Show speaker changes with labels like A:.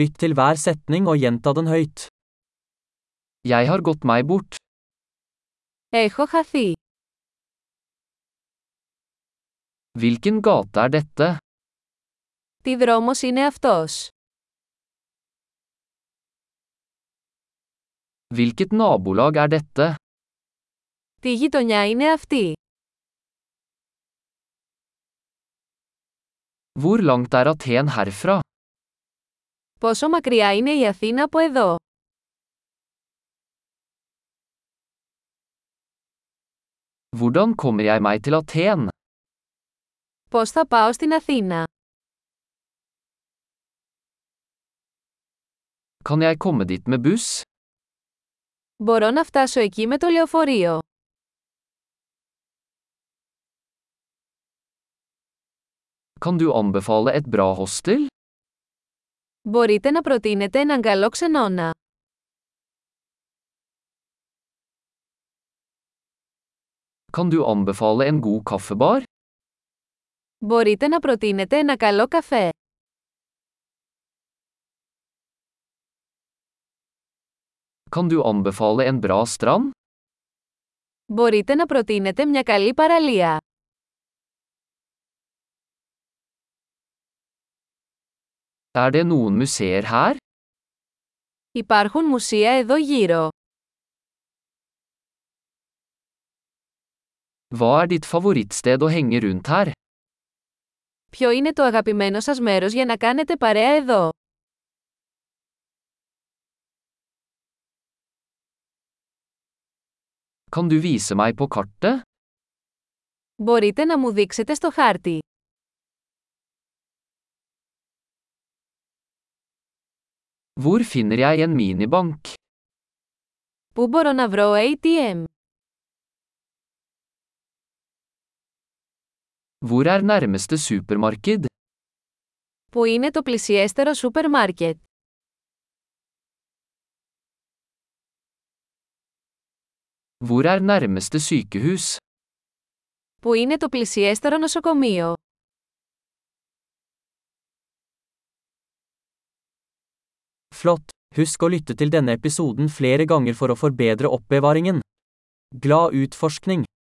A: Lytt til hver setning og gjenta den høyt. Jeg har gått meg bort.
B: Έχω χαθεί.
A: Hvilken gate er dette?
B: Τι δρόμος είναι αυτός.
A: Hvilket nabolag er dette?
B: Τι γειτονιά είναι αυτή.
A: Hvor langt er Aten herfra?
B: Πόσο μακριά είναι η Αθήνα από εδώ.
A: Hvordan kommer jeg meg til Aten?
B: Πώς θα πάω στην Αθήνα.
A: Kan jeg komme dit med buss?
B: Μπορώ να φτάσω εκεί με το λεωφορείο.
A: Kan du anbefale et bra hostel?
B: Μπορείτε να προτείνετε έναν καλό ξενώνα.
A: Kan du anbefale en god kaffebar?
B: Μπορείτε να προτείνετε ένα καλό καφέ.
A: Kan du anbefale en bra strand?
B: Μπορείτε να προτείνετε μια καλή παραλία.
A: Er det noen museer her?
B: Υπάρχουν μουσεία εδώ γύρω.
A: Hva er ditt favorittsted å henge rundt her?
B: Ποιο είναι το αγαπημένο σας μέρος για να κάνετε παρέα εδώ.
A: Kan du vise meg på kartet?
B: Μπορείτε να μου δείξετε στο χάρτη.
A: Hvor finner jeg en minibank?
B: Πού μπορώ να βρω ATM.
A: Hvor er nærmeste supermarked?
B: Πού είναι το πλησιέστερο σούπερ μάρκετ.
A: Hvor er nærmeste sykehus?
B: Πού είναι το πλησιέστερο νοσοκομείο.
A: Flott! Husk å lytte til denne episoden flere ganger for å forbedre oppbevaringen. Glad utforskning!